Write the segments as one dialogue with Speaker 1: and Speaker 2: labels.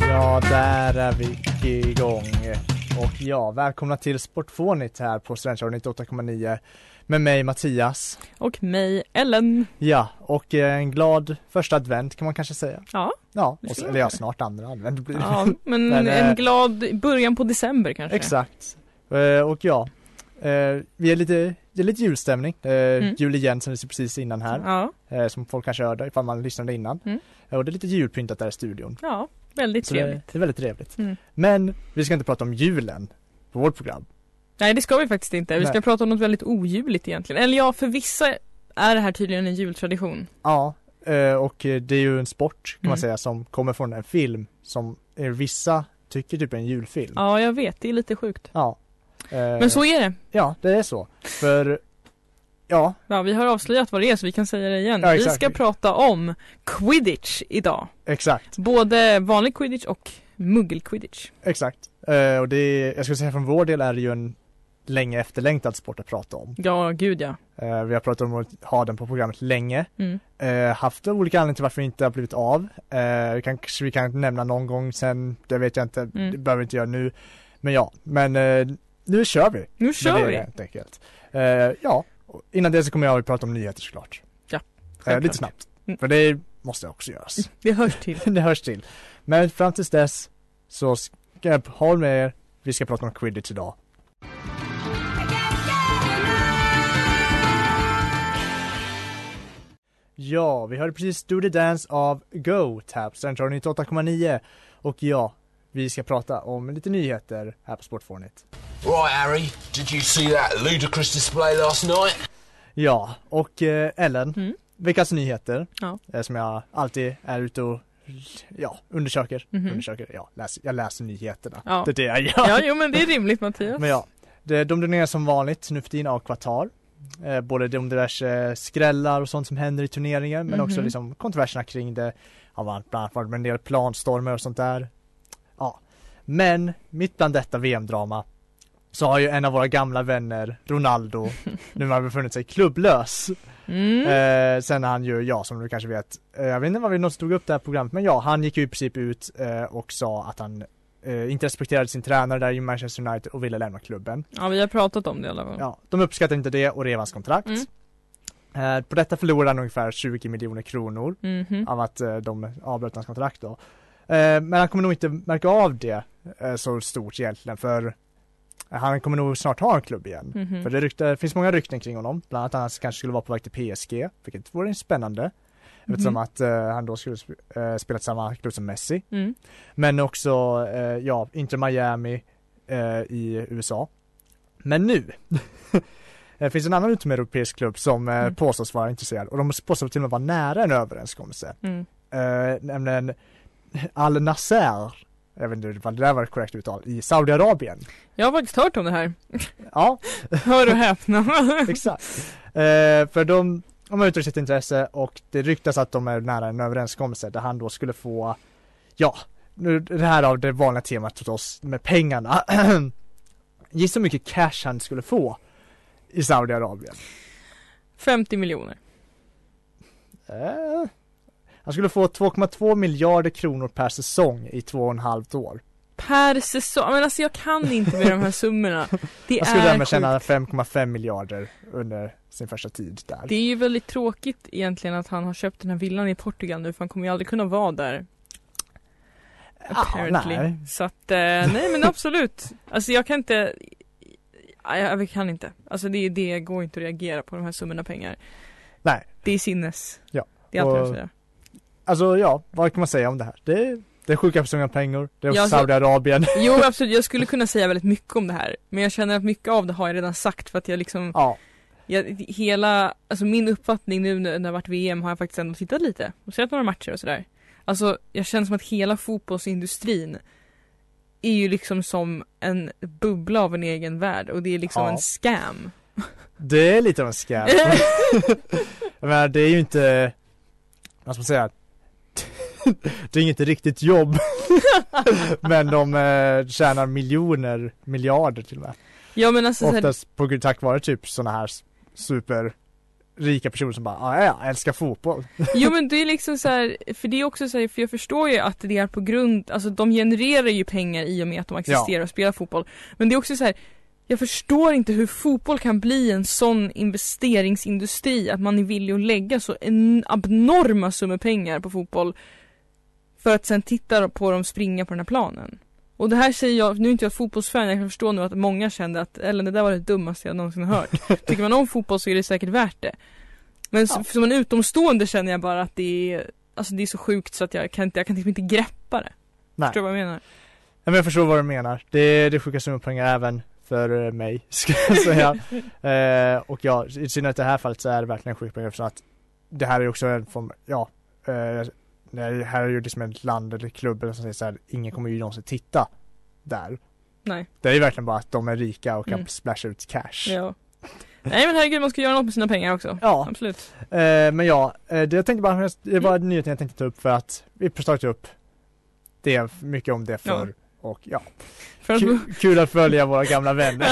Speaker 1: Ja, där är vi igång. Och ja, välkomna till Sportfånigt här på Studentradion 98,9 med mig Mattias.
Speaker 2: Och mig, Ellen.
Speaker 1: Ja, och eh, en glad första advent kan man kanske säga.
Speaker 2: Ja,
Speaker 1: Ja,
Speaker 2: det
Speaker 1: och så,
Speaker 2: skulle
Speaker 1: eller ja, snart andra advent blir det.
Speaker 2: ja men,
Speaker 1: Men, eh,
Speaker 2: en glad början på december kanske.
Speaker 1: Exakt. Eh, Och ja, eh, vi är lite, det är lite julstämning. Eh,
Speaker 2: Mm.
Speaker 1: Jul igen som vi såg precis innan här,
Speaker 2: Ja,
Speaker 1: eh, som folk kanske hörde ifall man lyssnade innan.
Speaker 2: Mm.
Speaker 1: Eh, Och det är lite julpyntat där i studion.
Speaker 2: ja, väldigt
Speaker 1: Så
Speaker 2: trevligt.
Speaker 1: det, det är väldigt trevligt.
Speaker 2: Mm.
Speaker 1: Men vi ska inte prata om julen på vårt program.
Speaker 2: Nej det ska vi faktiskt inte. Vi ska
Speaker 1: Nej.
Speaker 2: prata om något väldigt ojuligt egentligen. Eller ja, för vissa är det här tydligen en
Speaker 1: Mm.
Speaker 2: jultradition.
Speaker 1: Ja, eh, och eh, det är ju en sport kan man
Speaker 2: Mm.
Speaker 1: säga som kommer från en film som eh, vissa tycker typ är en julfilm.
Speaker 2: Ja, jag vet. Det är lite sjukt.
Speaker 1: Ja. Eh,
Speaker 2: Men så är det.
Speaker 1: Ja, det är så. För Ja,
Speaker 2: Ja, vi har avslöjat vad det är så vi kan säga det igen.
Speaker 1: Ja,
Speaker 2: vi
Speaker 1: exakt.
Speaker 2: ska prata om quidditch idag.
Speaker 1: exakt,
Speaker 2: Både vanlig quidditch och muggelquidditch.
Speaker 1: exakt. Eh, och det är, jag skulle säga från vår del är det ju en länge efterlängtad sport att prata om.
Speaker 2: Ja, gud ja.
Speaker 1: Eh, vi har pratat om att ha den på programmet länge.
Speaker 2: Mm.
Speaker 1: Eh, haft olika anledningar till varför det inte har blivit av. Eh, vi kanske vi kan nämna någon gång sen, det vet jag inte,
Speaker 2: Mm.
Speaker 1: det behöver vi inte göra nu. Men ja, men eh, nu kör vi.
Speaker 2: Nu
Speaker 1: Men
Speaker 2: kör
Speaker 1: det är det
Speaker 2: vi!
Speaker 1: helt enkelt. Eh, ja, och innan det så kommer jag att prata om nyheter såklart.
Speaker 2: Ja,
Speaker 1: eh, Lite
Speaker 2: självklart.
Speaker 1: snabbt.
Speaker 2: Mm.
Speaker 1: För det måste också göras.
Speaker 2: Det hörs till.
Speaker 1: det hörs till. Men fram tills dess så ska jag håll med er. Vi ska prata om quidditch idag. Ja, vi hörde precis Do the Dance av Go Tap Central 98,9 och ja, vi ska prata om lite nyheter här på Sportfånigt.
Speaker 3: Right, Harry, did you see that ludicrous display last night?
Speaker 1: Ja, och eh, Ellen,
Speaker 2: Mm.
Speaker 1: veckans nyheter
Speaker 2: Ja.
Speaker 1: eh, som jag alltid är ute och ja, undersöker,
Speaker 2: Mhm.
Speaker 1: undersöker, ja, läser, jag läser nyheterna.
Speaker 2: Ja.
Speaker 1: Det är det jag gör.
Speaker 2: Ja, jo men det är rimligt Mattias.
Speaker 1: Men ja, det, de doneras som vanligt nu för tiden av Qatar. Eh, både de diverse skrällar och sånt som händer i turneringen men också
Speaker 2: Mhm.
Speaker 1: liksom kontroverserna kring det. Har varit bland annat varit med en del planstormar och sånt där. Ja, men mitt bland detta VM-drama så har ju en av våra gamla vänner, Ronaldo, nu har befunnit sig klubblös.
Speaker 2: Mm.
Speaker 1: Eh, sen han ju, ja som du kanske vet, eh, jag vet inte vad vi någonsin tog upp det här programmet men ja, han gick ju i princip ut eh, och sa att han eh, inte respekterade sin tränare där i Manchester United och ville lämna klubben.
Speaker 2: Ja vi har pratat om det i alla fall.
Speaker 1: Ja, de uppskattar inte det och rev hans kontrakt.
Speaker 2: Mm.
Speaker 1: Eh, på detta förlorade han ungefär 20 miljoner kronor
Speaker 2: Mhm.
Speaker 1: av att eh, de avbröt hans kontrakt då. Eh, men han kommer nog inte märka av det eh, så stort egentligen för han kommer nog snart ha en klubb igen.
Speaker 2: Mhm.
Speaker 1: För det rykte, finns många rykten kring honom, bland annat att han kanske skulle vara på väg till PSG, vilket vore spännande. Eftersom
Speaker 2: Mhm.
Speaker 1: att eh, han då skulle sp- eh, spela i samma klubb som Messi.
Speaker 2: Mm.
Speaker 1: Men också, eh, ja, Inter Miami eh, i USA. Men nu! det finns en annan utomeuropeisk klubb som eh,
Speaker 2: Mm.
Speaker 1: påstås vara intresserad och de påstås till och med vara nära en överenskommelse.
Speaker 2: Mm.
Speaker 1: Eh, nämligen Al Nasser, jag vet inte vad det där var ett korrekt uttal, i Saudiarabien.
Speaker 2: Jag har faktiskt hört om det här.
Speaker 1: Ja,
Speaker 2: Hör och häpna.
Speaker 1: Exakt. Eh, för de, de har uttryckt sitt intresse och det ryktas att de är nära en överenskommelse där han då skulle få, ja, nu det här av det vanliga temat hos oss med pengarna. Gissa hur mycket cash han skulle få i Saudiarabien.
Speaker 2: 50 miljoner.
Speaker 1: Eh, han skulle få 2,2 miljarder kronor per säsong i två och en halvt år.
Speaker 2: Per säsong. Men alltså jag kan inte med de här summorna. Det
Speaker 1: Han skulle
Speaker 2: är
Speaker 1: därmed
Speaker 2: sjukt.
Speaker 1: tjäna 5,5 miljarder under sin första tid där.
Speaker 2: Det är ju väldigt tråkigt egentligen att han har köpt den här villan i Portugal nu för han kommer ju aldrig kunna vara där.
Speaker 1: Ah,
Speaker 2: Apparently.
Speaker 1: nej.
Speaker 2: Så att, eh, nej men absolut. Alltså jag kan inte, Nej, jag kan inte. Alltså det, det går inte att reagera på de här summorna pengar.
Speaker 1: Nej.
Speaker 2: Det är sinnes.
Speaker 1: Ja.
Speaker 2: Det är allt jag
Speaker 1: Och-
Speaker 2: vill säga.
Speaker 1: Alltså ja, vad kan man säga om det här? Det är, det är sjuka personer med pengar, det är
Speaker 2: Ja,
Speaker 1: också
Speaker 2: alltså-
Speaker 1: Saudiarabien.
Speaker 2: Jo absolut, jag skulle kunna säga väldigt mycket om det här. Men jag känner att mycket av det har jag redan sagt för att jag liksom
Speaker 1: Ja,
Speaker 2: jag, hela, alltså min uppfattning nu när det har varit VM har jag faktiskt ändå tittat lite och sett några matcher och sådär. Alltså jag känner som att hela fotbollsindustrin är ju liksom som en bubbla av en egen värld och det är liksom
Speaker 1: Ja.
Speaker 2: en scam.
Speaker 1: Det är lite av en scam. Jag menar, det är ju inte, vad ska man säga, det är inget riktigt jobb. Men de eh, tjänar miljoner, miljarder till och med.
Speaker 2: Ja men alltså så här,
Speaker 1: Oftast på, grund- tack vare typ sådana här s- superrika personer som bara, ah, ja, jag älskar fotboll.
Speaker 2: Jo men det är liksom så här, för det är också så här, för jag förstår ju att det är på grund, alltså de genererar ju pengar i och med att de existerar och spelar fotboll. Men det är också så här, jag förstår inte hur fotboll kan bli en sån investeringsindustri, att man är villig att lägga så en abnorma summor pengar på fotboll för att sen titta på dem springa på den här planen. Och det här säger jag, nu är inte jag fotbollsfan, jag kan förstå nu att många kände att Ellen det där var det dummaste jag någonsin har hört. Tycker man om fotboll så är det säkert värt det. Men s-
Speaker 1: Ja.
Speaker 2: som en utomstående känner jag bara att det är, alltså det är så sjukt så att jag kan inte, jag kan liksom inte greppa det.
Speaker 1: Nej.
Speaker 2: Förstår du vad jag menar?
Speaker 1: Ja, men jag förstår vad du menar. Det är det sjukaste med pengar även för eh, mig, ska jag säga. eh, och ja, i synnerhet det här fallet så är det verkligen sjukt pengar eftersom att det här är ju också en form, ja, eh, det här är ju liksom ett land eller klubb eller som säger så här, ingen kommer ju någonsin titta där.
Speaker 2: Nej.
Speaker 1: Det är ju verkligen bara att de är rika och kan
Speaker 2: Mm.
Speaker 1: splasha ut cash.
Speaker 2: Ja. Nej men herregud man ska göra något med sina pengar också.
Speaker 1: Ja,
Speaker 2: Absolut.
Speaker 1: eh, men ja, eh, det jag tänkte bara, det var
Speaker 2: Mm.
Speaker 1: nyheten jag tänkte ta upp för att vi pratade ju upp det, mycket om det förr. Och ja,
Speaker 2: För att...
Speaker 1: kul, kul att följa våra gamla vänner.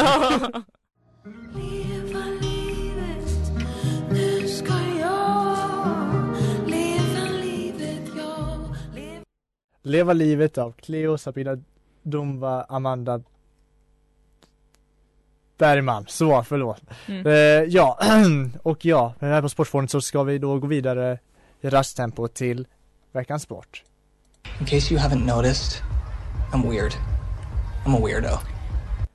Speaker 4: Leva livet, nu ska jag leva livet, jag lever
Speaker 1: Leva livet av Cleo, Sabina Dumba, Amanda Bergman. Så, förlåt.
Speaker 2: Mm.
Speaker 1: Eh, ja, och ja, men här på Sportforum så ska vi då gå vidare i rasttempo till veckans sport.
Speaker 5: In case you haven't noticed, I'm weird. I'm a weirdo.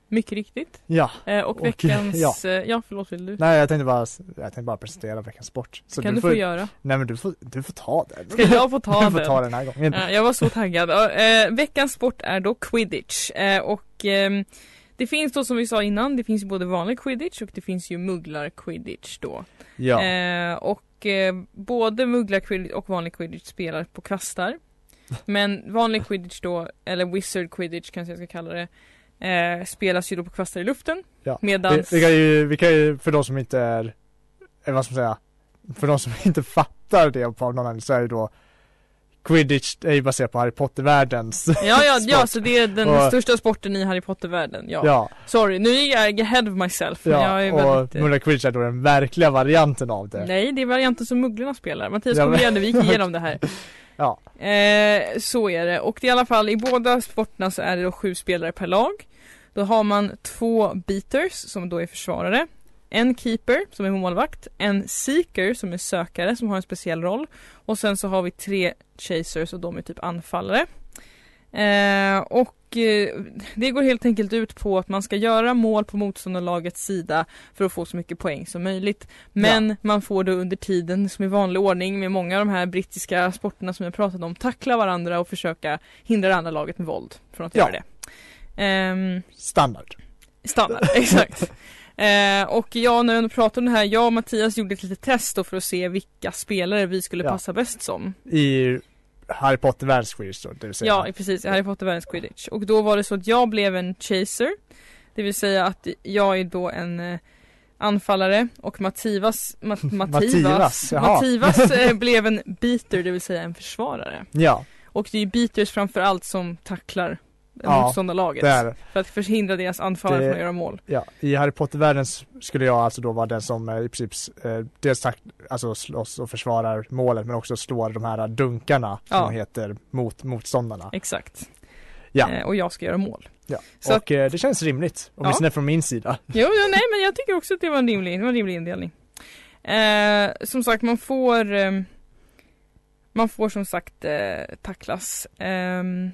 Speaker 2: Mycket riktigt.
Speaker 1: Ja,
Speaker 2: Eh, och
Speaker 1: Och-
Speaker 2: veckans,
Speaker 1: ja.
Speaker 2: ja, ja förlåt vill du?
Speaker 1: nej jag tänkte bara, jag tänkte bara presentera veckans sport. Så
Speaker 2: kan du få, göra?
Speaker 1: Nej men du får, du får ta den.
Speaker 2: Ska jag få
Speaker 1: du
Speaker 2: ta
Speaker 1: får
Speaker 2: den?
Speaker 1: ta den här gången.
Speaker 2: Ja, jag var så taggad. Ja, Eh, veckans sport är då quidditch. Eh, och ehm, det finns då som vi sa innan, det finns ju både vanlig quidditch och det finns ju mugglar-quidditch då.
Speaker 1: Ja,
Speaker 2: Eh, och eh, både mugglar-quidditch och vanlig quidditch spelar på kvastar. Men vanlig quidditch då, eller wizard quidditch kanske jag ska kalla det, eh, spelas ju då på kvastar i luften.
Speaker 1: Ja, vi,
Speaker 2: Medans...
Speaker 1: vi kan ju, vi kan ju, för de som inte är, eh, vad ska man säga, för de som inte fattar det på någon anledning så är ju då Quidditch är ju baserat på Harry Potter-världens
Speaker 2: Ja, ja, ja,
Speaker 1: sport.
Speaker 2: så det är den
Speaker 1: Och-
Speaker 2: största sporten i Harry Potter-världen. Ja.
Speaker 1: Ja,
Speaker 2: Sorry, nu är jag ahead of myself. men
Speaker 1: ja,
Speaker 2: jag är
Speaker 1: och
Speaker 2: väldigt, eh,
Speaker 1: Mulla Quidditch är då den verkliga varianten av det.
Speaker 2: Nej, det är varianten som mugglorna spelar. Mattias
Speaker 1: Ja, men-
Speaker 2: Kolmiade, vi gick igenom det här.
Speaker 1: Ja.
Speaker 2: Eh, så är det. Och det är i alla fall, i båda sporterna så är det då sju spelare per lag. Då har man två beaters som då är försvarare. En keeper som är målvakt, en seeker som är sökare som har en speciell roll. Och sen så har vi tre chasers och de är typ anfallare. Eh, och eh, det går helt enkelt ut på att man ska göra mål på motståndarlagets sida för att få så mycket poäng som möjligt. Men man får då under tiden som i vanlig ordning med många av de här brittiska sporterna som jag pratade om tackla varandra och försöka hindra det andra laget med våld från att
Speaker 1: Ja.
Speaker 2: göra det. Ehm,
Speaker 1: Standard.
Speaker 2: Standard, exakt. Eh, och jag, när jag ändå pratar om det här, jag och Mattias gjorde ett litet test då för att se vilka spelare vi skulle
Speaker 1: Ja.
Speaker 2: passa bäst som.
Speaker 1: I Harry Potter-världens Quidditch då, det vill säga.
Speaker 2: Ja, precis, i Harry Potter världens quidditch. Och då var det så att jag blev en chaser, det vill säga att jag är då en eh, anfallare och Mattivas, Mat- Mattivas,
Speaker 1: Mattivas, jaha.
Speaker 2: Mattivas eh, blev en beater, det vill säga en försvarare.
Speaker 1: ja
Speaker 2: Och det är ju beaters framförallt som tacklar
Speaker 1: Ja,
Speaker 2: motståndarlaget
Speaker 1: det är det.
Speaker 2: för att förhindra deras anfallare
Speaker 1: Det-
Speaker 2: från att göra mål.
Speaker 1: Ja, i Harry Potter-världen s- skulle jag alltså då vara den som eh, i princip eh, dels tack, alltså slåss och försvarar målet men också slår de här dunkarna
Speaker 2: Ja.
Speaker 1: som heter mot motståndarna.
Speaker 2: Exakt.
Speaker 1: Ja.
Speaker 2: Eh, och jag ska göra mål.
Speaker 1: Ja.
Speaker 2: Så
Speaker 1: och eh, det känns rimligt, åtminstone från min sida.
Speaker 2: Jo, jo, nej men jag tycker också att det var en rimlig, det var en rimlig indelning. Eh, som sagt, man får ehm, man får som sagt eh, tacklas. Ehm,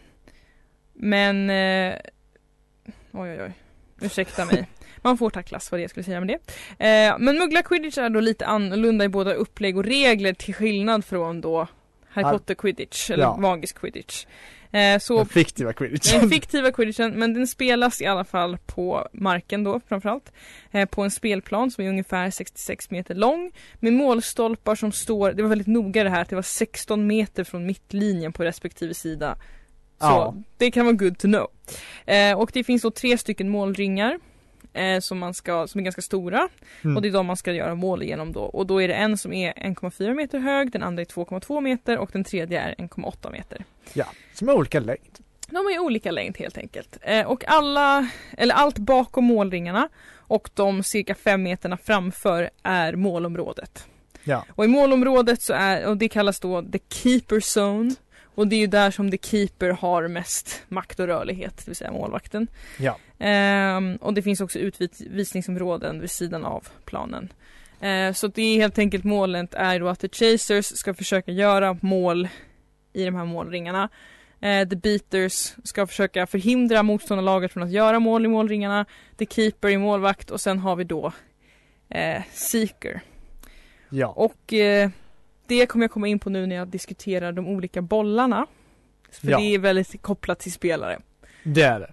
Speaker 2: men eh, oj oj oj, ursäkta mig. Man får tacklas, vad det jag skulle säga med det. Eh, men muggla quidditch är då lite annorlunda i båda upplägg och regler till skillnad från då Harry
Speaker 1: Har-
Speaker 2: Potter quidditch eller
Speaker 1: Ja.
Speaker 2: magisk quidditch. Eh, så
Speaker 1: Den fiktiva quidditch.
Speaker 2: Den fiktiva quidditchen, men den spelas i alla fall på marken då framförallt. Eh, på en spelplan som är ungefär 66 meter lång. Med målstolpar som står, det var väldigt noga det här, att det var 16 meter från mittlinjen på respektive sida. Så
Speaker 1: Ja.
Speaker 2: det kan vara good to know. Eh, och det finns då tre stycken målringar. Eh, som, man ska, som är ganska stora
Speaker 1: Mm.
Speaker 2: och det är de man ska göra mål genom då och då är det en som är 1,4 meter hög, den andra är 2,2 meter och den tredje är 1,8 meter.
Speaker 1: Ja, som är olika längd.
Speaker 2: De har ju olika längd helt enkelt. Eh, och alla, eller allt bakom målringarna och de cirka fem meterna framför är målområdet.
Speaker 1: Ja.
Speaker 2: Och i målområdet så är, och det kallas då the keeper zone. Och det är ju där som the keeper har mest makt och rörlighet, det vill säga målvakten.
Speaker 1: Ja.
Speaker 2: Ehm, och det finns också utvisningsområden vid sidan av planen. Eh, så det är helt enkelt målet är då att the chasers ska försöka göra mål i de här målringarna. Eh, the beaters ska försöka förhindra motståndarlaget från att göra mål i målringarna. The keeper är målvakt och sen har vi då eh, seeker.
Speaker 1: Ja.
Speaker 2: Och eh, det kommer jag komma in på nu när jag diskuterar de olika bollarna. För
Speaker 1: Ja.
Speaker 2: det är väldigt kopplat till spelare.
Speaker 1: Det är det.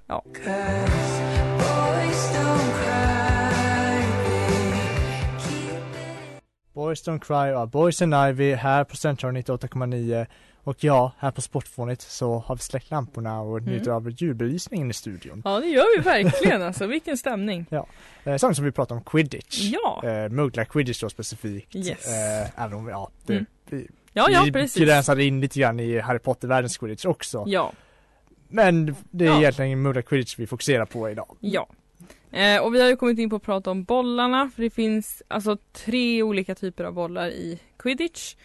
Speaker 1: Boys Don't Cry av Boys and Ivy här på Central 98,9 och ja, här på Sportfånigt så har vi släckt lamporna och
Speaker 2: Mm.
Speaker 1: njuter av ljudbelysningen i studion.
Speaker 2: Ja det gör vi verkligen alltså, vilken stämning.
Speaker 1: Eh, samtidigt som vi pratar om quidditch.
Speaker 2: Ja,
Speaker 1: Eh, Mugglar-quidditch då specifikt.
Speaker 2: Yes.
Speaker 1: Eh, även om, ja, det,
Speaker 2: Mm.
Speaker 1: vi,
Speaker 2: ja, ja
Speaker 1: vi
Speaker 2: precis.
Speaker 1: gränsar in lite grann i Harry Potter-världens quidditch också.
Speaker 2: Ja,
Speaker 1: Men det är
Speaker 2: Ja.
Speaker 1: egentligen Mugglar-quidditch vi fokuserar på idag.
Speaker 2: Mm. ja. Eh, och vi har ju kommit in på att prata om bollarna för det finns alltså tre olika typer av bollar i quidditch.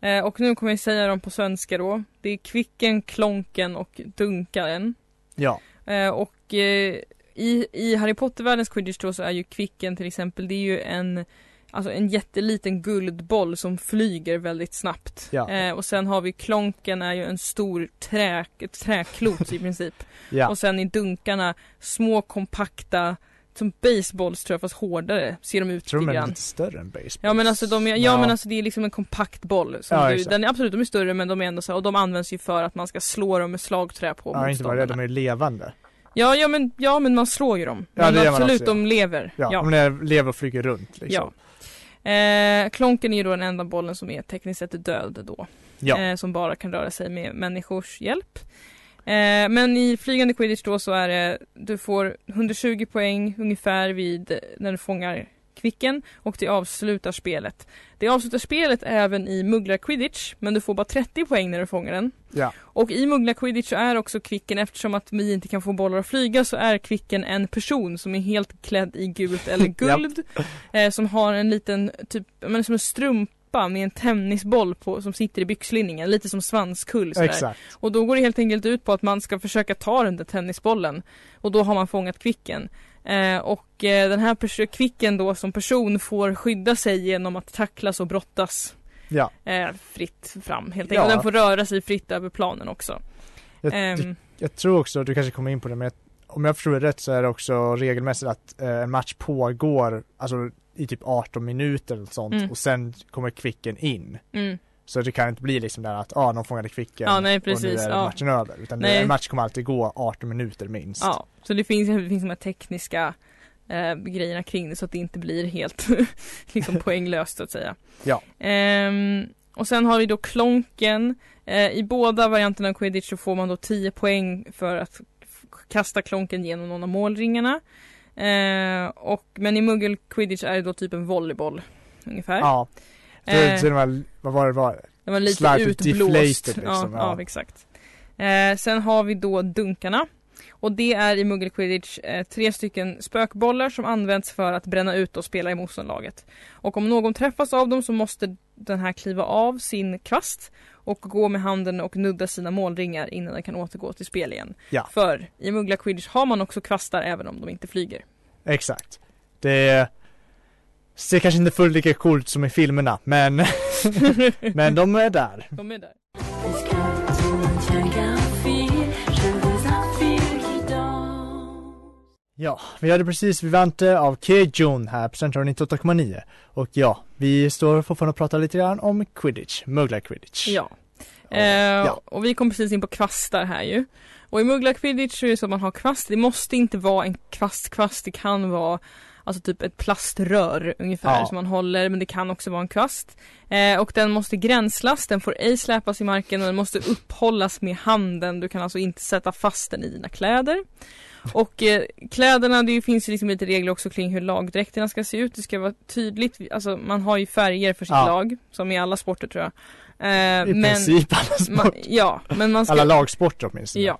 Speaker 2: Eh, och nu kommer jag säga dem på svenska då. Det är kvicken, klonken och dunkaren.
Speaker 1: Ja,
Speaker 2: Eh, och eh, i, i Harry Potter-världens quidditch då så är ju kvicken till exempel, det är ju en Alltså en jätteliten guldboll som flyger väldigt snabbt.
Speaker 1: Ja.
Speaker 2: Eh, och sen har vi klonken är ju en stor trä, ett träklot i princip.
Speaker 1: ja,
Speaker 2: Och sen i dunkarna små kompakta som baseballs tror jag fast hårdare ser de ut
Speaker 1: tror
Speaker 2: lite
Speaker 1: de är
Speaker 2: grann.
Speaker 1: lite större än baseball.
Speaker 2: Ja men alltså de är, ja,
Speaker 1: Ja.
Speaker 2: men alltså det är liksom en kompakt boll. Som
Speaker 1: Ja,
Speaker 2: du,
Speaker 1: exakt.
Speaker 2: den är absolut, de är större men de är ändå så här, och de används ju för att man ska slå dem med slagträ på
Speaker 1: Ja, inte bara det, de är levande.
Speaker 2: Ja, ja, men, ja men man slår ju dem.
Speaker 1: Ja,
Speaker 2: men
Speaker 1: det gör man
Speaker 2: absolut,
Speaker 1: också, ja.
Speaker 2: de lever.
Speaker 1: Ja, de är- lever och flyger runt liksom.
Speaker 2: Ja. Eh, klonken är ju då den enda bollen som är tekniskt sett död då.
Speaker 1: Ja.
Speaker 2: Eh, som bara kan röra sig med människors hjälp. Eh, men i flygande quidditch då så är det, du får 120 poäng ungefär vid eh, när du fångar kvicken och det avslutar spelet. Det avslutar spelet även i mugglar quidditch men du får bara 30 poäng när du fångar den.
Speaker 1: Ja.
Speaker 2: Och i mugglar quidditch så är också kvicken, eftersom att vi inte kan få bollar att flyga så är kvicken en person som är helt klädd i gult eller guld. eh, som har en liten, typ, men som en strumpa med en tennisboll på, som sitter i byxlinningen, lite som svanskull sådär.
Speaker 1: Exakt.
Speaker 2: Och då går det helt enkelt ut på att man ska försöka ta den där tennisbollen och då har man fångat kvicken. Eh, och eh, den här pers- kvicken då som person får skydda sig genom att tacklas och brottas
Speaker 1: Ja.
Speaker 2: eh, fritt fram helt enkelt.
Speaker 1: Ja.
Speaker 2: Och den får röra sig fritt över planen också.
Speaker 1: Jag,
Speaker 2: Ehm,
Speaker 1: jag tror också, du kanske kommer in på det, men jag, om jag förstår det rätt så är det också regelmässigt att eh, en match pågår alltså, i typ 18 minuter eller sånt
Speaker 2: Mm.
Speaker 1: och sen kommer kvicken in.
Speaker 2: mm.
Speaker 1: Så det kan inte bli liksom där att ah, någon fångade kvicken
Speaker 2: Ja, nej,
Speaker 1: och nu
Speaker 2: precis,
Speaker 1: är
Speaker 2: ja.
Speaker 1: matchen över. Utan det-
Speaker 2: Nej.
Speaker 1: en match kommer alltid gå 18 minuter minst.
Speaker 2: Ja, så det finns, det finns de här tekniska eh, grejerna kring det så att det inte blir helt liksom poänglöst så att säga.
Speaker 1: Ja.
Speaker 2: Ehm, och sen har vi då klonken. Eh, I båda varianterna av quidditch så får man då 10 poäng för att f- kasta klonken genom någon av målringarna. Eh, och, men i muggel quidditch är det då typ en volleyboll ungefär.
Speaker 1: Ja. Så,
Speaker 2: Eh,
Speaker 1: så det var, vad var det? Var?
Speaker 2: den var lite
Speaker 1: Slightly
Speaker 2: utblåst.
Speaker 1: deflated,
Speaker 2: ja,
Speaker 1: liksom,
Speaker 2: ja.
Speaker 1: ja.
Speaker 2: exakt. Eh, sen har vi då dunkarna. Och det är i Muggle Quidditch eh, tre stycken spökbollar som används för att bränna ut och spela i motståndarlaget. Och om någon träffas av dem så måste den här kliva av sin kvast och gå med handen och nudda sina målringar innan den kan återgå till spel igen.
Speaker 1: Ja.
Speaker 2: För i Muggla Quidditch har man också kvastar även om de inte flyger.
Speaker 1: Exakt. Det ser kanske inte fullt lika coolt som i filmerna men, men de är där.
Speaker 2: De är där.
Speaker 1: Ja, vi hade precis Vivante av K-June här på Central 98,9 och ja, vi står fortfarande och pratar lite grann om quidditch, möglar quidditch.
Speaker 2: Ja. Eh,
Speaker 1: Ja.
Speaker 2: Och vi kom precis in på kvastar här ju. Och i mugglarquidditch så är det så att man har kvast. Det måste inte vara en kvast-kvast. Det kan vara alltså typ ett plaströr ungefär
Speaker 1: Ja.
Speaker 2: som man håller. Men det kan också vara en kvast. Eh, och den måste gränslas. Den får ej släpas i marken och den måste upphållas med handen. Du kan alltså inte sätta fast den i dina kläder. Och eh, kläderna, det finns ju liksom lite regler också kring hur lagdräkterna ska se ut. Det ska vara tydligt, alltså man har ju färger för sitt
Speaker 1: Ja.
Speaker 2: lag, som i alla sporter tror jag. Eh,
Speaker 1: I princip alla
Speaker 2: man,
Speaker 1: sport.
Speaker 2: ja, men man ska,
Speaker 1: Alla lagsporter åtminstone.
Speaker 2: ja.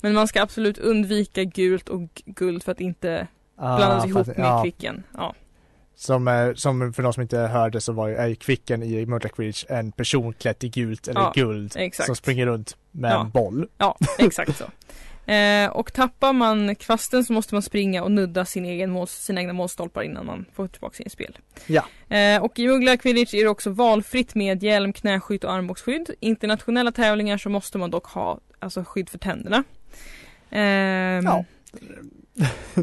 Speaker 2: Men man ska absolut undvika gult och guld för att inte
Speaker 1: Ah,
Speaker 2: blandas
Speaker 1: för
Speaker 2: ihop
Speaker 1: att-
Speaker 2: med
Speaker 1: ja.
Speaker 2: kvicken. Ja.
Speaker 1: Som, eh, som för de som inte hörde så var ju är ju Kvicken i Murder Quidditch en person klädd i gult eller
Speaker 2: Ja,
Speaker 1: guld
Speaker 2: exakt.
Speaker 1: som springer runt med
Speaker 2: Ja.
Speaker 1: en boll.
Speaker 2: Ja, exakt så. Eh, och tappar man kvasten så måste man springa och nudda sin egen mål, sina egna målstolpar innan man får tillbaka sin spel.
Speaker 1: Ja.
Speaker 2: Eh, och i Muggla Quidditch är det också valfritt med hjälm, knäskydd och armbågsskydd. Internationella tävlingar så måste man dock ha alltså, skydd för tänderna. Ehm,
Speaker 1: Ja.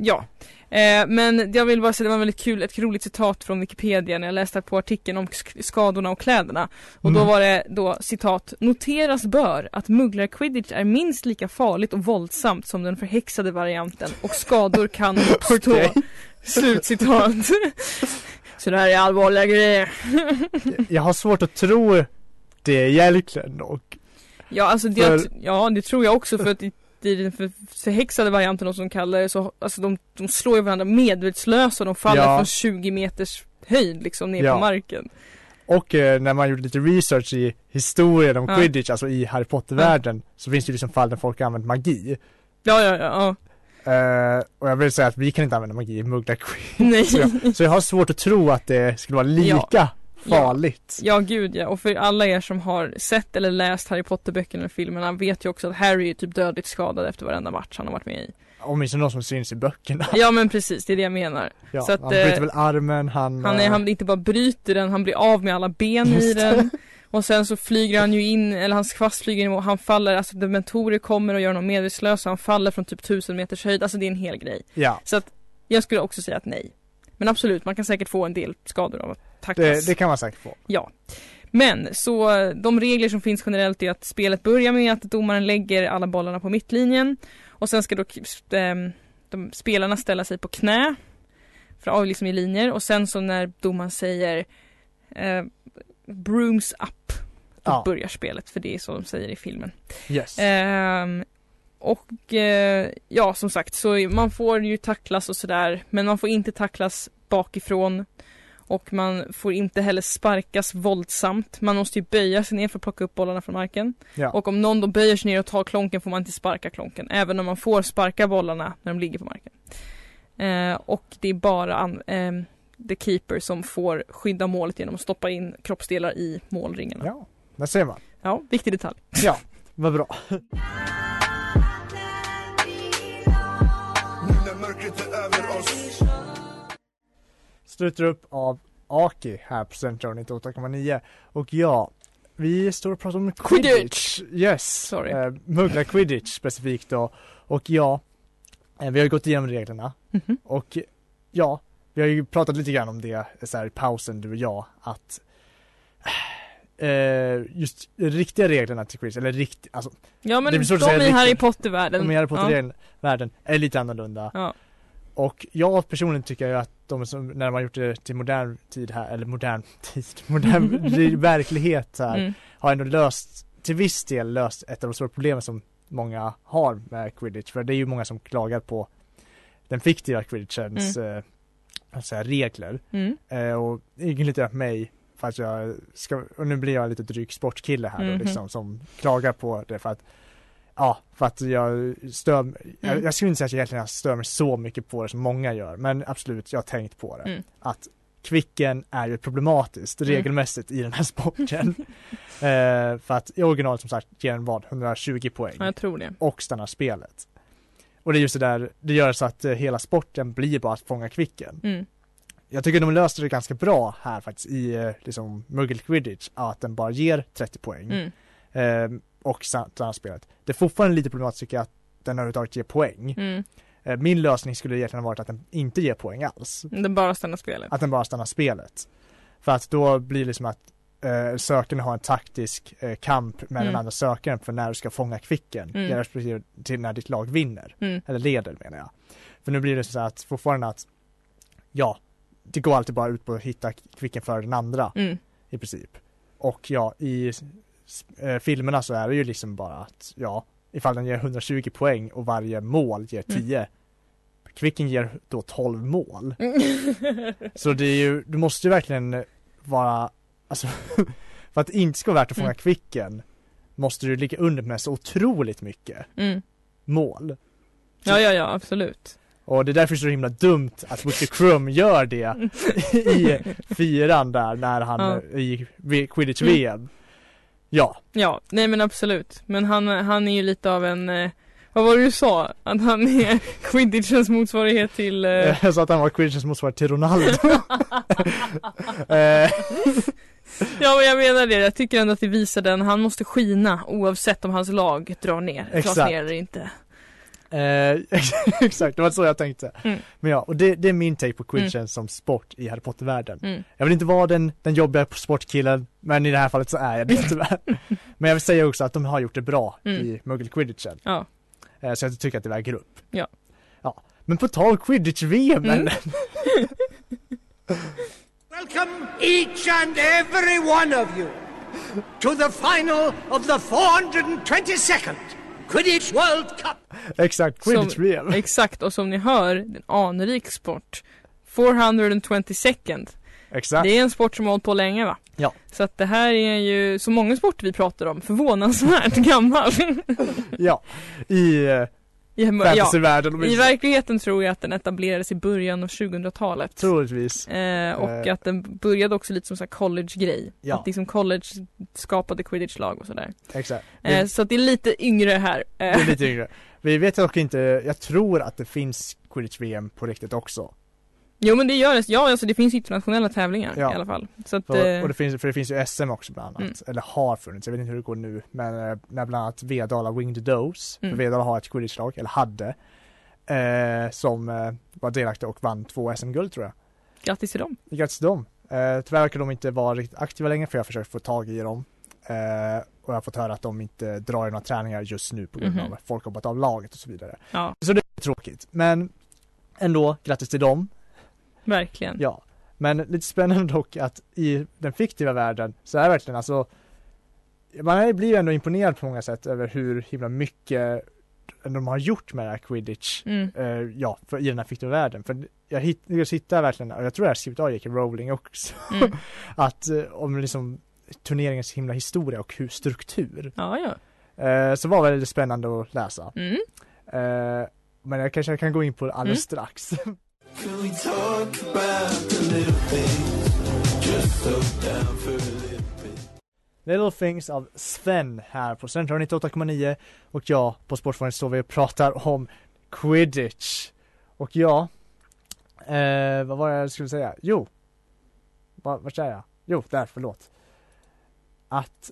Speaker 2: ja. Eh, men jag vill bara säga det var väldigt kul, ett roligt citat från Wikipedia när jag läste på artikeln om sk- skadorna och kläderna. Och då
Speaker 1: Mm.
Speaker 2: var det då citat Noteras bör att mugglar-quidditch är minst lika farligt och våldsamt som den förhäxade varianten och skador kan uppstå.
Speaker 1: Okej.
Speaker 2: Slutcitat. Så det här är allvarliga grejer.
Speaker 1: Jag har svårt att tro det egentligen och
Speaker 2: Ja, alltså det,
Speaker 1: För-
Speaker 2: ja, det tror jag också för att i, i den för- förhäxade varianten och som kallar det så alltså de, de slår ju varandra medvetslösa och de faller
Speaker 1: Ja.
Speaker 2: från 20 meters höjd liksom ner
Speaker 1: Ja.
Speaker 2: på marken.
Speaker 1: Och eh, när man gjorde lite research i historien om
Speaker 2: Ja.
Speaker 1: quidditch, alltså i Harry Potter-världen, så finns det ju liksom fall där folk har använt magi.
Speaker 2: Ja, ja, ja. ja.
Speaker 1: Eh, och jag vill säga att vi kan inte använda magi i muggla quidditch.
Speaker 2: Nej.
Speaker 1: Så jag, så jag har svårt att tro att det skulle vara lika farligt.
Speaker 2: Ja gud ja, och för alla er som har sett eller läst Harry Potter-böckerna och filmerna vet ju också att Harry är typ dödligt skadad efter varenda match han har varit med i.
Speaker 1: Åtminstone de som syns i böckerna.
Speaker 2: Ja men precis, det är det jag menar.
Speaker 1: Ja,
Speaker 2: Så att,
Speaker 1: han
Speaker 2: eh,
Speaker 1: bryter väl armen, han...
Speaker 2: Han, är,
Speaker 1: eh,
Speaker 2: han inte bara bryter den, han blir av med alla ben i
Speaker 1: Just det.
Speaker 2: den. Och sen så flyger han ju in, eller hans kvast flyger in och han faller, alltså dementorer kommer och gör honom medvetslös och han faller från typ 1000 meters höjd, alltså det är en hel grej.
Speaker 1: Ja,
Speaker 2: Så att jag skulle också säga att nej. Men absolut, man kan säkert få en del skador av att tacklas.
Speaker 1: det, det kan man säkert få.
Speaker 2: Men så eh, de regler som finns generellt är att spelet börjar med att domaren lägger alla bollarna på mittlinjen och sen ska då k- s- ehm, de, spelarna ställa sig på knä för av liksom i linjer och sen så när domaren säger eh, brooms up då
Speaker 1: Ja.
Speaker 2: börjar spelet för det är så de säger i filmen.
Speaker 1: Yes.
Speaker 2: Ehm, och eh, ja, som sagt, så är- man får ju tacklas och sådär, men man får inte tacklas bakifrån. Och man får inte heller sparkas våldsamt. Man måste ju böja sig ner för att plocka upp bollarna från marken.
Speaker 1: ja.
Speaker 2: Och om någon då böjer sig ner och tar klonken får man inte sparka klonken. Även om man får sparka bollarna när de ligger på marken. Eh, och det är bara an- ehm, the keeper som får skydda målet genom att stoppa in kroppsdelar i målringarna. Ja,
Speaker 1: ja, där ser man.
Speaker 2: viktig detalj.
Speaker 1: Vad bra. Sluter upp av Aki här på Central 98,9 och ja, vi står och pratar om quidditch. Yes,
Speaker 2: Sorry.
Speaker 1: Eh, muggla quidditch specifikt då och ja, eh, vi har ju gått igenom reglerna
Speaker 2: Mhm.
Speaker 1: och ja, vi har ju pratat lite grann om det så här i pausen du och jag att eh, just riktiga reglerna till quidditch, eller rikt, alltså
Speaker 2: Ja men
Speaker 1: Det
Speaker 2: de
Speaker 1: blir svårt att säga
Speaker 2: i
Speaker 1: vilken.
Speaker 2: Harry Potter-världen.
Speaker 1: de i Harry
Speaker 2: ja.
Speaker 1: Potter-världen är lite annorlunda.
Speaker 2: Ja.
Speaker 1: Och jag personligen tycker ju att de som, när de har gjort det till modern tid här, eller modern tid, modern verklighet här,
Speaker 2: Mm.
Speaker 1: har ändå löst, till viss del löst ett av de stora problemen som många har med quidditch. För det är ju många som klagar på den fiktiva quidditchens eh, vad ska jag säga, regler.
Speaker 2: Mm.
Speaker 1: Eh, och ingen litar på mig för att jag ska, och nu blir jag lite dryg sportkille här
Speaker 2: Mhm.
Speaker 1: då, liksom som klagar på det för att Ja, för att jag stör
Speaker 2: Mm.
Speaker 1: jag, jag skulle inte säga att jag egentligen stör mig så mycket på det som många gör, men absolut, jag har tänkt på det.
Speaker 2: Mm.
Speaker 1: Att kvicken är ju problematiskt
Speaker 2: Mm.
Speaker 1: regelmässigt i den här sporten. eh, för att i originalet som sagt ger den vad, 120 poäng
Speaker 2: Ja, jag tror det.
Speaker 1: och stannar spelet. Och det är just det där, det gör så att eh, hela sporten blir bara att fånga kvicken.
Speaker 2: Mm.
Speaker 1: Jag tycker de löste det ganska bra här faktiskt i eh, liksom Muggle Quidditch att den bara ger 30 poäng
Speaker 2: Mm.
Speaker 1: eh, och samspelet. Det är fortfarande lite problematiskt tycker jag att den överhuvudtaget ger poäng.
Speaker 2: Mm.
Speaker 1: Eh, min lösning skulle egentligen ha varit att den inte ger poäng alls. Ah.
Speaker 2: Det är bara stannar spelet.
Speaker 1: Att den bara stannar spelet. För att då blir det som att eh, sökaren har en taktisk eh, kamp med
Speaker 2: Mm.
Speaker 1: den andra sökaren för när du ska fånga kvicken.
Speaker 2: Mm.
Speaker 1: Mm. Respektive till när ditt lag vinner.
Speaker 2: Mm.
Speaker 1: Eller leder menar jag. För nu blir det så att fortfarande att ja, det går alltid bara ut på att hitta kvicken före den andra
Speaker 2: Mm.
Speaker 1: i princip. Och ja, i s- eh, filmerna så är det ju liksom bara att ja, ifall den ger 120 poäng och varje mål ger
Speaker 2: Mm.
Speaker 1: 10 Kvicken ger då 12 mål. Så det är ju, du måste ju verkligen vara, alltså för att det inte ska vara värt att fånga
Speaker 2: Mm.
Speaker 1: kvicken måste du ligga under med så otroligt mycket
Speaker 2: Mm.
Speaker 1: mål.
Speaker 2: Ja, ja, ja, absolut.
Speaker 1: Och det är därför så himla dumt att Butcher Crumb gör det i fyran där när han
Speaker 2: Ja.
Speaker 1: i v- quidditch-VM. Ja,
Speaker 2: Ja, nej men absolut. Men han, han är ju lite av en, eh, vad var det du sa? Att han är quidditchens motsvarighet till, eh,
Speaker 1: jag sa att han var quidditchens motsvarighet till Ronaldo. Eh,
Speaker 2: ja men jag menar det, jag tycker ändå att det visar den, han måste skina oavsett om hans lag drar ner, dras
Speaker 1: Exakt.
Speaker 2: ner eller inte.
Speaker 1: eh, exakt, det var så jag tänkte.
Speaker 2: Mm.
Speaker 1: Men ja, och det, det är min take på quidditchen som sport i Harry Potter-världen.
Speaker 2: Mm.
Speaker 1: Jag vill inte vara den, den jobbiga sportkillen, men i det här fallet så är jag det tyvärr. men jag vill säga också att de har gjort det bra
Speaker 2: Mm.
Speaker 1: i Muggle-quidditchen.
Speaker 2: Ja.
Speaker 1: Eh, Så jag tycker att det väger upp.
Speaker 2: Ja.
Speaker 1: ja. Men på tal om quidditch-VM,
Speaker 2: Mm.
Speaker 1: eller?
Speaker 6: Welcome, each and every one of you, to the final of the 422nd Quidditch World Cup.
Speaker 1: exakt,
Speaker 2: Som-
Speaker 1: quidditch-VM.
Speaker 2: Exakt, och som ni hör, det är en anrik sport. 420 second.
Speaker 1: Exakt.
Speaker 2: Det är en sport som har hållit på länge va?
Speaker 1: Ja.
Speaker 2: Så att det här är ju, så många sporter vi pratar om, förvånansvärt gammal.
Speaker 1: Ja. I eh,
Speaker 2: I, ja,
Speaker 1: fantasyvärlden
Speaker 2: I
Speaker 1: åtminstone.
Speaker 2: verkligheten tror jag att den etablerades i början av 2000-talet.
Speaker 1: Troligtvis.
Speaker 2: Eh, och
Speaker 1: Eh.
Speaker 2: att den började också lite som så här college-grej.
Speaker 1: Ja.
Speaker 2: Att liksom college skapade quidditch-lag och sådär.
Speaker 1: Exakt.
Speaker 2: Eh,
Speaker 1: Det,
Speaker 2: Så att det är lite yngre här.
Speaker 1: det
Speaker 2: Eh,
Speaker 1: är lite yngre. Vi vet dock inte, jag tror att det finns quidditch-VM på riktigt också.
Speaker 2: Jo men det gör det. Ja alltså det finns internationella tävlingar
Speaker 1: Ja.
Speaker 2: i alla fall. Så att,
Speaker 1: För,
Speaker 2: eh,
Speaker 1: och det finns, för det finns ju SM också bland annat,
Speaker 2: Mm.
Speaker 1: eller har funnits, jag vet inte hur det går nu, men eh, när bland annat Vedala Winged Dose,
Speaker 2: Mm.
Speaker 1: för Vedala har ett quidditch-lag, eller hade, eh, som eh, var delaktiga och vann två SM-guld tror jag.
Speaker 2: grattis till dem.
Speaker 1: Grattis till dem. Eh, tyvärr verkar de inte vara riktigt aktiva längre för jag har försökt få tag i dem. Eh, och jag har fått höra att de inte drar i några träningar just nu på grund
Speaker 2: Mhm.
Speaker 1: av att folk har hoppat av laget och så vidare.
Speaker 2: Ja.
Speaker 1: Så det är tråkigt. Men ändå, grattis till dem.
Speaker 2: Verkligen.
Speaker 1: Ja. Men lite spännande dock att i den fiktiva världen så är det verkligen alltså man är- blir ju ändå imponerad på många sätt över hur himla mycket de har gjort med det här quidditch
Speaker 2: Mm.
Speaker 1: eh, ja, för, i den här fiktiva världen. För jag, hit, jag hittar verkligen, och jag tror jag har skrivit av J.K. Rowling också,
Speaker 2: Mm.
Speaker 1: att eh, om liksom turneringens himla historia och hur struktur.
Speaker 2: Ja, ja.
Speaker 1: Eh, så var väldigt spännande att läsa.
Speaker 2: Mm.
Speaker 1: Eh, men jag kanske kan gå in på det alldeles strax.
Speaker 7: Can we talk about the little things? Just so down for a little bit.
Speaker 1: Little Things av Sven här på Central 98,9 och jag på Sportfonden står vi och pratar om Quidditch. Och ja, eh, vad var det jag skulle säga? Jo, Va- vart är jag? Jo, där, förlåt. Att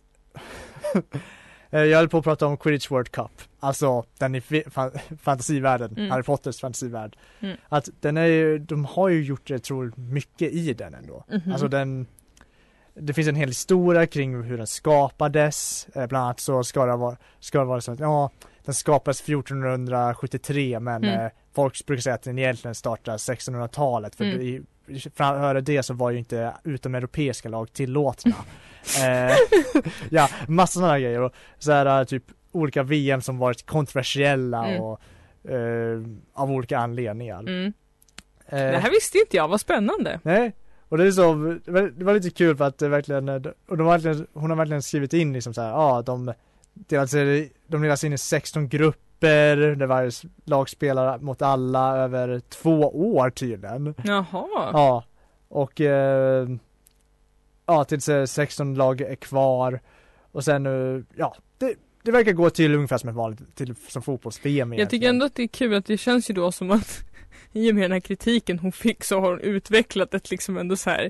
Speaker 1: eh, jag höll på att prata om Quidditch World Cup, alltså den i fi- fan- fantasivärlden,
Speaker 2: Mm.
Speaker 1: Harry Potters fantasivärld.
Speaker 2: Mm.
Speaker 1: Att den är ju, de har ju gjort, jag tror, mycket i den ändå.
Speaker 2: Mhm.
Speaker 1: Alltså den Det finns en hel historia kring hur den skapades Eh, Bland annat så ska det vara, ska det vara så att ja Den skapades 1473 men
Speaker 2: Mm.
Speaker 1: eh, folk brukar säga att den egentligen startades 1600-talet för
Speaker 2: Mm.
Speaker 1: det- i, före det så var ju inte utomeuropeiska lag tillåtna eh, Ja, massor sådana grejer och så här eh, typ olika VM som varit kontroversiella
Speaker 2: Mm.
Speaker 1: och eh, av olika anledningar
Speaker 2: Mm.
Speaker 1: Eh,
Speaker 2: Det här visste inte jag, vad spännande.
Speaker 1: Nej, och det är så, det var, det var lite kul för att det verkligen, och de har verkligen, hon har verkligen skrivit in liksom så här, ja de delas, de delas in i 16 grupper, där varje lag spelar mot alla över två år tydligen.
Speaker 2: Jaha.
Speaker 1: Ja, och eh, ja tills eh, 16 lag är kvar och sen, eh, ja det, det verkar gå till ungefär som ett vanligt, till, som fotbolls-VM
Speaker 2: Jag tycker
Speaker 1: egentligen.
Speaker 2: ändå att det är kul att det känns ju då som att i och med den här kritiken hon fick så har hon utvecklat ett liksom ändå så här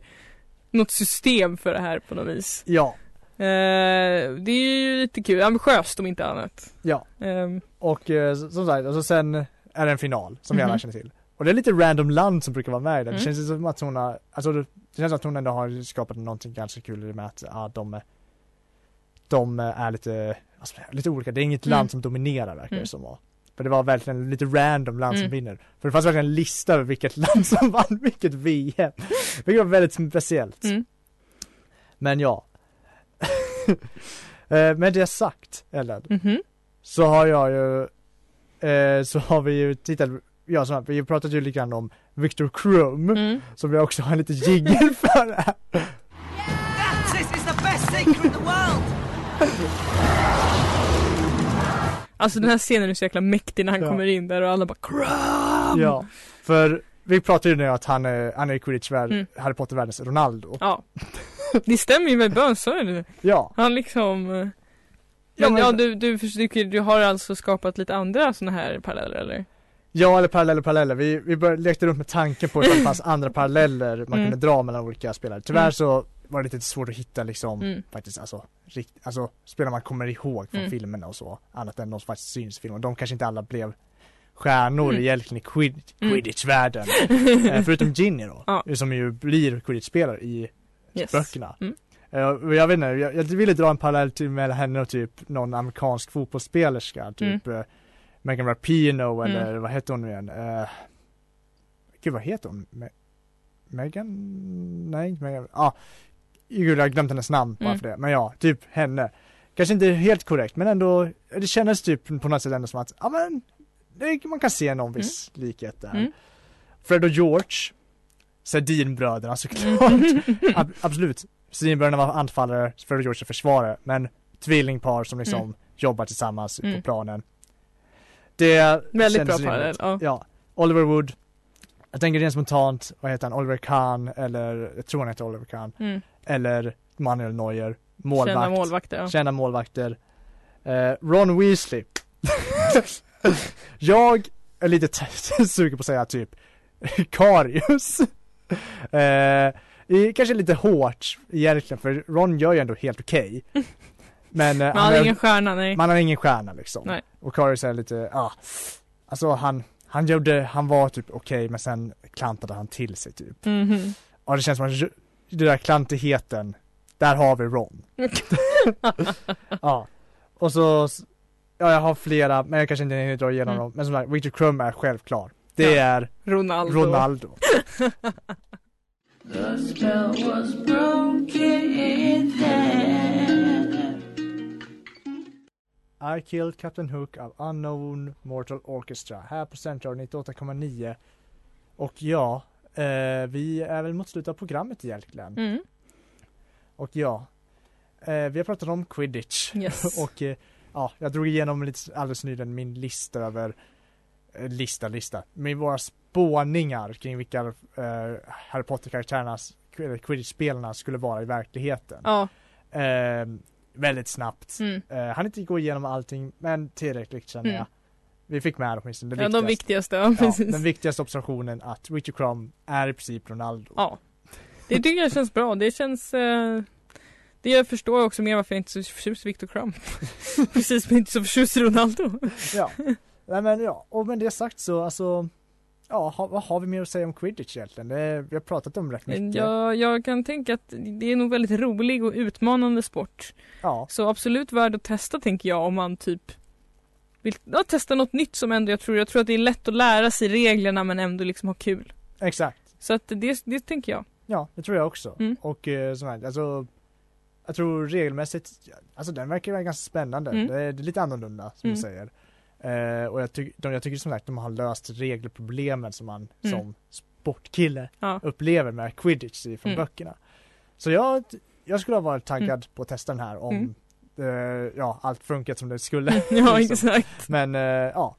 Speaker 2: något system för det här på något vis.
Speaker 1: Ja,
Speaker 2: Eh, det är ju lite kul, ambitiöst om inte annat.
Speaker 1: Ja.
Speaker 2: Eh,
Speaker 1: Och eh, som sagt, alltså sen är det en final som vi alla
Speaker 2: Mhm.
Speaker 1: känner till. Och det är lite random land som brukar vara med i den. Det
Speaker 2: Mm.
Speaker 1: känns ju som att hon har, alltså det det känns som att hon ändå har skapat någonting ganska kul i det med att ja, de, är- de är lite, alltså, lite olika. Det är inget
Speaker 2: Mm.
Speaker 1: land som dominerar verkar
Speaker 2: Mm.
Speaker 1: det som var. För det var verkligen lite random land
Speaker 2: Mm.
Speaker 1: som vinner. För det fanns verkligen en lista över vilket land som vann vilket VM. Vilket var väldigt speciellt.
Speaker 2: Mm.
Speaker 1: Men ja. Eh, Med det sagt, Ellen
Speaker 2: Mhm.
Speaker 1: så har jag ju eh, så har vi ju tittat Ja, så här, vi har pratat ju lite grann om Victor Krum
Speaker 2: Mm.
Speaker 1: som jag också har en liten jingel för här.
Speaker 6: This is the best secret in the world!
Speaker 2: Alltså den här scenen är så jäkla mäktig när han
Speaker 1: Ja.
Speaker 2: kommer in där och alla bara Kram!
Speaker 1: Ja, för vi pratade ju nu att han är, han är quidditch värld,
Speaker 2: Mm.
Speaker 1: Harry Potter världens Ronaldo.
Speaker 2: Ja. Det stämmer ju med bönsörjaren.
Speaker 1: Ja,
Speaker 2: Han liksom eh,
Speaker 1: Ja,
Speaker 2: men,
Speaker 1: men-
Speaker 2: ja, du, du, försöker, du har alltså skapat lite andra såna här paralleller eller?
Speaker 1: ja eller paralleller paralleller. Vi, vi bör, lekte runt med tanken på att det fanns andra paralleller man
Speaker 2: Mm.
Speaker 1: kunde dra mellan olika spelare. Tyvärr
Speaker 2: Mm.
Speaker 1: så var det lite svårt att hitta liksom
Speaker 2: Mm.
Speaker 1: faktiskt alltså, rikt, alltså spelare man kommer ihåg från
Speaker 2: Mm.
Speaker 1: filmerna och så annat än de som faktiskt syns i filmen. De kanske inte alla blev stjärnor
Speaker 2: Mm.
Speaker 1: egentligen i quid,
Speaker 2: Mm.
Speaker 1: quidditch-världen. eh, förutom Ginny då,
Speaker 2: Ja.
Speaker 1: som ju blir quidditch-spelare i
Speaker 2: Yes.
Speaker 1: böckerna.
Speaker 2: Mm.
Speaker 1: Eh, och jag vet inte, jag, jag ville dra en parallell till mellan henne och typ någon amerikansk fotbollsspelerska, typ eh, Megan Rapinoe
Speaker 2: Mm.
Speaker 1: eller vad heter hon nu igen? Eh, gud vad heter hon? Me- Megan? Nej inte Megan, ja. Ah, gud jag har glömt hennes namn bara
Speaker 2: Mm.
Speaker 1: för det, men ja, typ henne. Kanske inte helt korrekt men ändå, det kändes typ på något sätt ändå som att, ja men, det, man kan se någon viss likhet där.
Speaker 2: Mm.
Speaker 1: Fred och George, Sedinbröderna
Speaker 2: Mm.
Speaker 1: såklart. Ab- absolut, Sedinbröderna var anfallare, Fred och George är försvarare, men tvillingpar som liksom
Speaker 2: Mm.
Speaker 1: jobbar tillsammans på
Speaker 2: Mm.
Speaker 1: planen. Det
Speaker 2: Väldigt
Speaker 1: kändes
Speaker 2: bra
Speaker 1: rimligt.
Speaker 2: parallell. Ja.
Speaker 1: Ja, Oliver Wood. Jag tänker rent spontant, vad heter han, Oliver Kahn eller, jag tror han heter Oliver Kahn,
Speaker 2: Mm.
Speaker 1: eller Manuel Neuer,
Speaker 2: Kända
Speaker 1: målvakt,
Speaker 2: målvakter. Ja.
Speaker 1: kända målvakter. Eh, Ron Weasley. jag är lite t- sugen på att säga typ Karius. Eh, i- kanske lite hårt egentligen för Ron gör ju ändå helt okej. Men, eh,
Speaker 2: Men han är
Speaker 1: är-
Speaker 2: ingen stjärna, nej.
Speaker 1: man har ingen stjärna liksom.
Speaker 2: Nej.
Speaker 1: Och Karius är lite, ja. Ah, alltså han, han gjorde, han var typ okej men sen klantade han till sig typ.
Speaker 2: Mhm.
Speaker 1: Ja det känns som att den där klantigheten, där har vi Ron. ja. Och så, ja jag har flera, men jag kanske inte hinner dra igenom
Speaker 2: Mm.
Speaker 1: dem. Men som sagt, Victor Krum är självklar. Det
Speaker 2: Ja.
Speaker 1: är
Speaker 2: Ronaldo.
Speaker 1: Ronaldo.
Speaker 4: The spell was broken then.
Speaker 1: I killed Captain Hook av Unknown Mortal Orchestra här på Central 98,9. Och ja, eh, vi är väl mot slutet av programmet egentligen.
Speaker 2: Mm.
Speaker 1: Och ja, eh, vi har pratat om quidditch.
Speaker 2: Yes.
Speaker 1: Och eh, ja, jag drog igenom lite alldeles nyligen min lista över eh, lista, lista, med våra spåningar kring vilka eh, Harry Potter-karaktärerna, eller quidditch-spelarna skulle vara i verkligheten.
Speaker 2: Ja.
Speaker 1: Eh, väldigt snabbt.
Speaker 2: Mm.
Speaker 1: Eh, han inte gå igenom allting, men tillräckligt känner
Speaker 2: Mm.
Speaker 1: jag. Vi fick med åtminstone det
Speaker 2: ja, de
Speaker 1: viktigaste.
Speaker 2: viktigaste. Ja,
Speaker 1: Ja,
Speaker 2: precis.
Speaker 1: den viktigaste observationen att Richard Crumb är i princip Ronaldo.
Speaker 2: Ja. Det tycker jag känns bra. Det känns... Eh... Det jag förstår också mer varför jag inte är så förtjust i Victor Crumb. Precis som jag inte är så förtjust i Ronaldo.
Speaker 1: Ja. Nej men ja, och med det sagt så alltså Ja, ha, vad har vi mer att säga om quidditch egentligen? Det, är- vi har pratat om rätt mycket.
Speaker 2: Jag, jag kan tänka att det är nog väldigt rolig och utmanande sport.
Speaker 1: Ja,
Speaker 2: Så absolut värd att testa tänker jag om man typ vill ja, testa något nytt som ändå jag tror. Jag tror att det är lätt att lära sig reglerna men ändå liksom ha kul.
Speaker 1: exakt.
Speaker 2: Så att det, det tänker jag.
Speaker 1: Ja, det tror jag också.
Speaker 2: Mm.
Speaker 1: Och eh, som sagt, alltså Jag tror regelmässigt, alltså den verkar vara ganska spännande.
Speaker 2: Mm.
Speaker 1: Det, är, det är lite annorlunda som du
Speaker 2: Mm.
Speaker 1: säger. Eh, och jag, tyck, de, jag tycker som sagt de har löst regelproblemen som man
Speaker 2: Mm.
Speaker 1: som sportkille
Speaker 2: Ja.
Speaker 1: upplever med quidditch i- från
Speaker 2: Mm.
Speaker 1: böckerna. Så jag, jag skulle ha varit taggad på att testa den här om
Speaker 2: Mm.
Speaker 1: eh, ja, allt funkat som det skulle.
Speaker 2: Ja
Speaker 1: Liksom.
Speaker 2: exakt.
Speaker 1: Men eh, ja.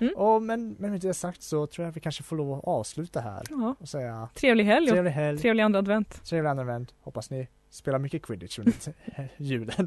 Speaker 2: Mm.
Speaker 1: Och, men, men med det sagt så tror jag vi kanske får lov att avsluta här
Speaker 2: Ja.
Speaker 1: och säga
Speaker 2: Trevlig helg och
Speaker 1: trevlig helg,
Speaker 2: trevlig andra advent.
Speaker 1: trevlig andra advent. Hoppas ni spelar mycket quidditch under julen.